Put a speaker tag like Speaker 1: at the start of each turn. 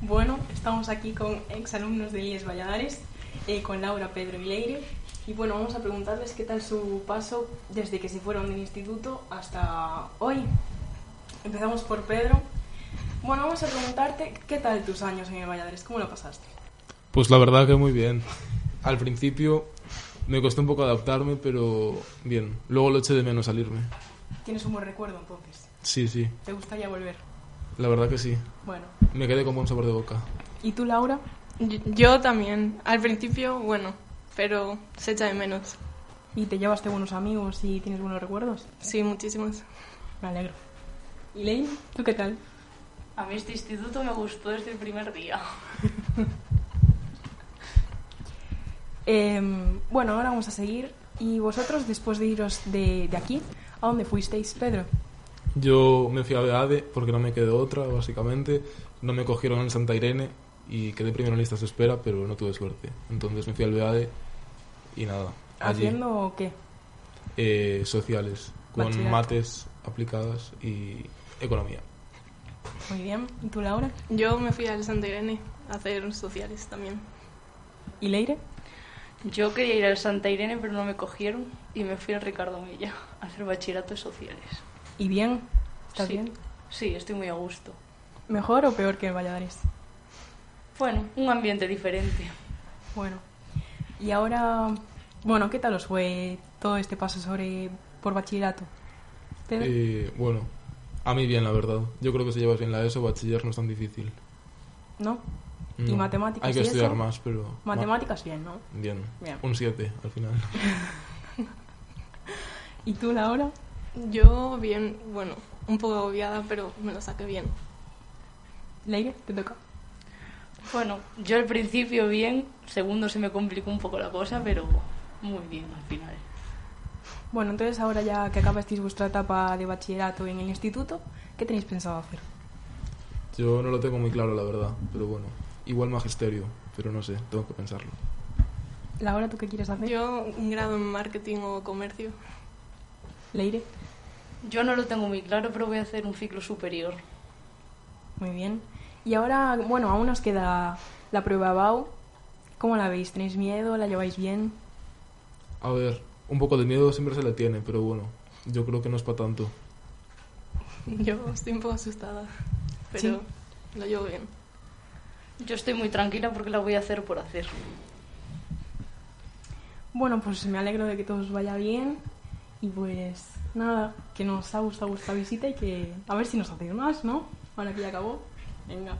Speaker 1: Bueno, estamos aquí con exalumnos de IES Valladares, eh, con Laura, Pedro y Leire. Y bueno, vamos a preguntarles qué tal su paso desde que se fueron del instituto hasta hoy. Empezamos por Pedro. Bueno, vamos a preguntarte qué tal tus años en el Valladares, cómo lo pasaste.
Speaker 2: Pues la verdad que muy bien. Al principio me costó un poco adaptarme, pero bien. Luego lo eché de menos salirme.
Speaker 1: Tienes un buen recuerdo entonces.
Speaker 2: Sí, sí.
Speaker 1: ¿Te gustaría volver?
Speaker 2: La verdad que sí.
Speaker 1: Bueno.
Speaker 2: Me quedé con buen sabor de boca.
Speaker 1: ¿Y tú, Laura?
Speaker 3: Yo, yo también. Al principio, bueno, pero se echa de menos.
Speaker 1: ¿Y te llevaste buenos amigos y tienes buenos recuerdos?
Speaker 3: Sí, muchísimos.
Speaker 1: Me alegro. ¿Y Lane? ¿Tú qué tal?
Speaker 4: A mí este instituto me gustó desde el primer día.
Speaker 1: Em, bueno, ahora vamos a seguir. ¿Y vosotros, después de iros de, de aquí, a dónde fuisteis, Pedro?
Speaker 2: Yo me fui a BADE porque no me quedó otra, básicamente. No me cogieron en Santa Irene y quedé primero en listas de espera, pero no tuve suerte. Entonces me fui al BADE y nada. Allí,
Speaker 1: ¿Haciendo qué?
Speaker 2: eh, sociales, con
Speaker 1: Bachillerato.
Speaker 2: mates aplicadas y economía.
Speaker 1: Muy bien. ¿Y tú, Laura?
Speaker 3: Yo me fui al Santa Irene a hacer sociales también.
Speaker 1: ¿Y Leire?
Speaker 4: Yo quería ir al Santa Irene, pero no me cogieron y me fui al Ricardo Milla a hacer bachilleratos sociales.
Speaker 1: ¿Y bien? ¿Estás
Speaker 4: Sí.
Speaker 1: bien?
Speaker 4: Sí, estoy muy a gusto.
Speaker 1: ¿Mejor o peor que en Valladares?
Speaker 4: Bueno, un ambiente diferente.
Speaker 1: Bueno. Y ahora, bueno, ¿qué tal os fue todo este paso sobre por bachillerato? Pedro.
Speaker 2: Eh, bueno, a mí bien, la verdad. Yo creo que si llevas bien la ESO, bachiller no es tan difícil.
Speaker 1: ¿No? ¿Y
Speaker 2: No.
Speaker 1: matemáticas
Speaker 2: Hay que
Speaker 1: y
Speaker 2: estudiar
Speaker 1: eso?
Speaker 2: más, pero... ma-
Speaker 1: Matemáticas bien, ¿no?
Speaker 2: Bien,
Speaker 1: Bien.
Speaker 2: un 7 al final.
Speaker 1: ¿Y tú, Laura?
Speaker 3: Yo bien, bueno, un poco agobiada, pero me lo saqué bien.
Speaker 1: Leire, te toca.
Speaker 4: Bueno, yo al principio bien, segundo se me complicó un poco la cosa, pero muy bien al final.
Speaker 1: Bueno, entonces ahora ya que acabasteis vuestra etapa de bachillerato en el instituto, ¿qué tenéis pensado hacer?
Speaker 2: Yo no lo tengo muy claro, la verdad, pero bueno. Igual magisterio, pero no sé, tengo que pensarlo.
Speaker 1: Laura, ¿tú qué quieres hacer?
Speaker 3: Yo un grado en marketing o comercio.
Speaker 1: Leire,
Speaker 4: Yo no lo tengo muy claro, pero voy a hacer un ciclo superior.
Speaker 1: muy bien. Y ahora, bueno, aún nos queda la prueba BAU. ¿Cómo la veis? ¿Tenéis miedo? ¿La lleváis bien?
Speaker 2: A ver, un poco de miedo siempre se le tiene, pero bueno, yo creo que no es para tanto.
Speaker 3: Yo estoy un poco asustada, pero lo llevo bien.
Speaker 4: Yo estoy muy tranquila porque la voy a hacer por hacer.
Speaker 1: Bueno, pues me alegro de que todo os vaya bien. Y pues nada, que nos ha gustado vuestra visita y que a ver si nos hacéis más, ¿no? Ahora que ya acabó. Venga.